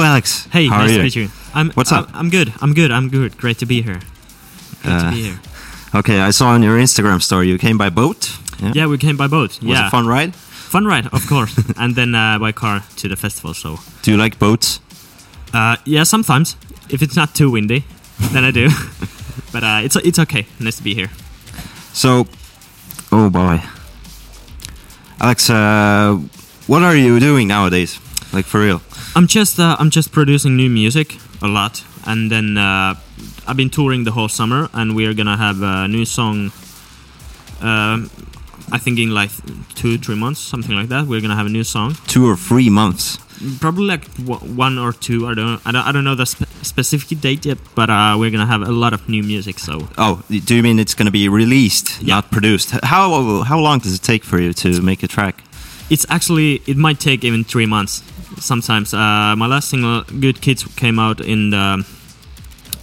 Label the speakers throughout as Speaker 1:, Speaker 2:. Speaker 1: Alex.
Speaker 2: Hey,
Speaker 1: How
Speaker 2: nice
Speaker 1: are you?
Speaker 2: to meet you. I'm,
Speaker 1: What's
Speaker 2: I'm-
Speaker 1: up?
Speaker 2: I'm good. I'm good. I'm good. Great to be here. Good
Speaker 1: Uh,
Speaker 2: to be here.
Speaker 1: Okay, I saw on your Instagram story you came by boat.
Speaker 2: Yeah, we came by boat.
Speaker 1: Was
Speaker 2: yeah,
Speaker 1: it fun ride?
Speaker 2: Fun ride, of course, and then uh, by car to the festival. So,
Speaker 1: Do you like boats?
Speaker 2: uh, yeah, sometimes if it's not too windy, then I do. but uh, it's it's okay. Nice to be here.
Speaker 1: So, oh boy, Alex, uh, what are you doing nowadays? Like for real?
Speaker 2: I'm just uh, I'm just producing new music a lot, and then uh, I've been touring the whole summer, and we are gonna have a new song. Um, I think in like two three months, something like that. We're gonna have a new song.
Speaker 1: Two or three months?
Speaker 2: probably like w- one or two. I don't, I don't, I don't know the spe- specific date yet, but uh, we're gonna have a lot of new music. So
Speaker 1: Oh, do you mean it's going to be released,
Speaker 2: Yeah.
Speaker 1: not produced? How how long does it take for you to make a track?
Speaker 2: it's actually it might take even three months. Sometimes uh, my last single, "Good Kids," came out in the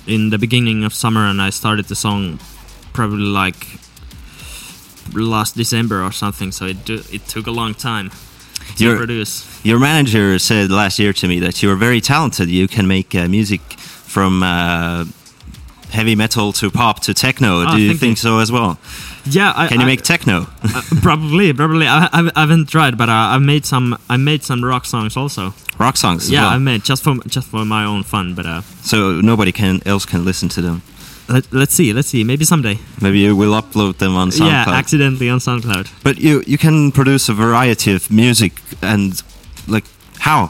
Speaker 2: in the beginning of summer, and I started the song probably like last December or something. So it do, it took a long time to
Speaker 1: You're-
Speaker 2: produce.
Speaker 1: Your manager said last year to me that you are very talented. You can make uh, music from uh, heavy metal to pop to techno.
Speaker 2: Ah,
Speaker 1: Do you
Speaker 2: thank
Speaker 1: think so as well?
Speaker 2: Yeah, I,
Speaker 1: Can you
Speaker 2: I-
Speaker 1: make techno?
Speaker 2: uh, probably, probably. I, I, I haven't tried, but uh, I made some. I made some rock songs also.
Speaker 1: Rock songs as
Speaker 2: Yeah,
Speaker 1: well.
Speaker 2: I meant just for just for my own fun, but uh,
Speaker 1: so nobody can else can listen to them.
Speaker 2: let, let's see, let's see, maybe someday.
Speaker 1: Maybe you will upload them on SoundCloud.
Speaker 2: Yeah, accidentally on SoundCloud.
Speaker 1: but you you can produce a variety of music and like how?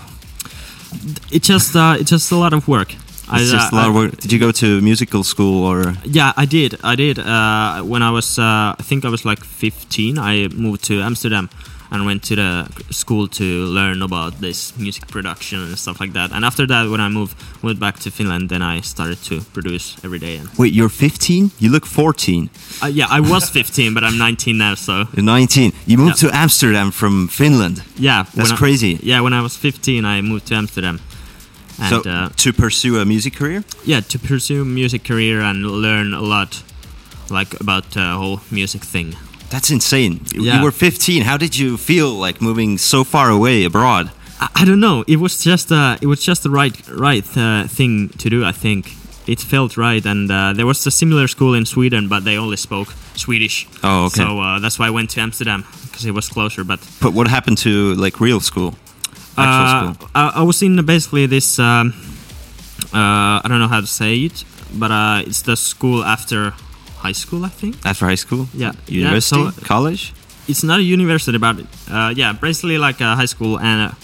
Speaker 2: It's just uh, it's just a lot of work. I,
Speaker 1: It's just
Speaker 2: uh,
Speaker 1: a lot of
Speaker 2: I-
Speaker 1: work. Did you go to musical school or
Speaker 2: Yeah, I did, I did. Uh, when I was, uh, I think I was like 15, I moved to Amsterdam and went to the school to learn about this music production and stuff like that. And after that, when I moved moved back to Finland, then I started to produce every day. And
Speaker 1: wait? You're 15. You look 14.
Speaker 2: uh, yeah, I was 15, but I'm 19 now, so
Speaker 1: You're 19. You moved to Amsterdam from Finland.
Speaker 2: yeah.
Speaker 1: That's
Speaker 2: when I-
Speaker 1: crazy.
Speaker 2: Yeah, when I was 15, I moved to Amsterdam. And
Speaker 1: so
Speaker 2: uh,
Speaker 1: to pursue a music career,
Speaker 2: yeah, to pursue music career and learn a lot, like about the whole music thing.
Speaker 1: that's insane. You- You
Speaker 2: Yeah.
Speaker 1: were 15. How did you feel like moving so far away abroad?
Speaker 2: I, I don't know. It was just uh, it was just the right right uh, thing to do. I think it felt right, and uh, there was a similar school in Sweden, but they only spoke Swedish.
Speaker 1: Oh, okay.
Speaker 2: So uh, that's why I went to Amsterdam because it was closer. But
Speaker 1: But what happened to like real school, actual
Speaker 2: Uh,
Speaker 1: school?
Speaker 2: I, I was in basically this. Um, uh, I don't know how to say it, but uh, it's the school after high school, I think.
Speaker 1: After high school,
Speaker 2: yeah, yeah,
Speaker 1: university,
Speaker 2: so-
Speaker 1: college.
Speaker 2: It's not a university, but uh, yeah, basically like a high school and uh,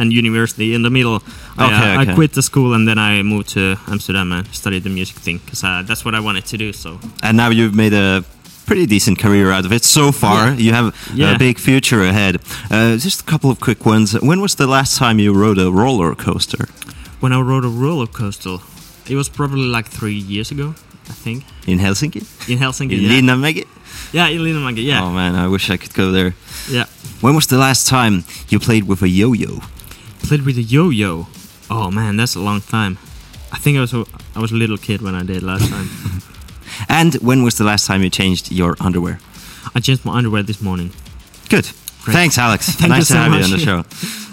Speaker 2: and university in the middle. I, uh,
Speaker 1: Okay,
Speaker 2: I,
Speaker 1: okay.
Speaker 2: quit the school and then I moved to Amsterdam and studied the music thing because uh, that's what I wanted to do. So
Speaker 1: and now you've made a pretty decent career out of it so far.
Speaker 2: Yeah.
Speaker 1: You have
Speaker 2: Yeah.
Speaker 1: a big future ahead. Uh, just a couple of quick ones. When was the last time you rode a roller coaster
Speaker 2: when I rode a roller coaster, it was probably like three years ago, I think,
Speaker 1: in Helsinki?
Speaker 2: in Helsinki.
Speaker 1: In
Speaker 2: yeah.
Speaker 1: Linnanmäki?
Speaker 2: yeah, in Linnanmäki. Yeah,
Speaker 1: Oh man, I wish I could go there.
Speaker 2: yeah.
Speaker 1: When was the last time you played with a yo-yo?
Speaker 2: played with a yo-yo. Oh man, that's a long time. I think I was a, I was a little kid when I did last time.
Speaker 1: And when was the last time you changed your underwear?
Speaker 2: I changed my underwear this morning.
Speaker 1: Good. Thanks, Alex.
Speaker 2: Thank you
Speaker 1: nice
Speaker 2: so
Speaker 1: to have
Speaker 2: much.
Speaker 1: you on the show.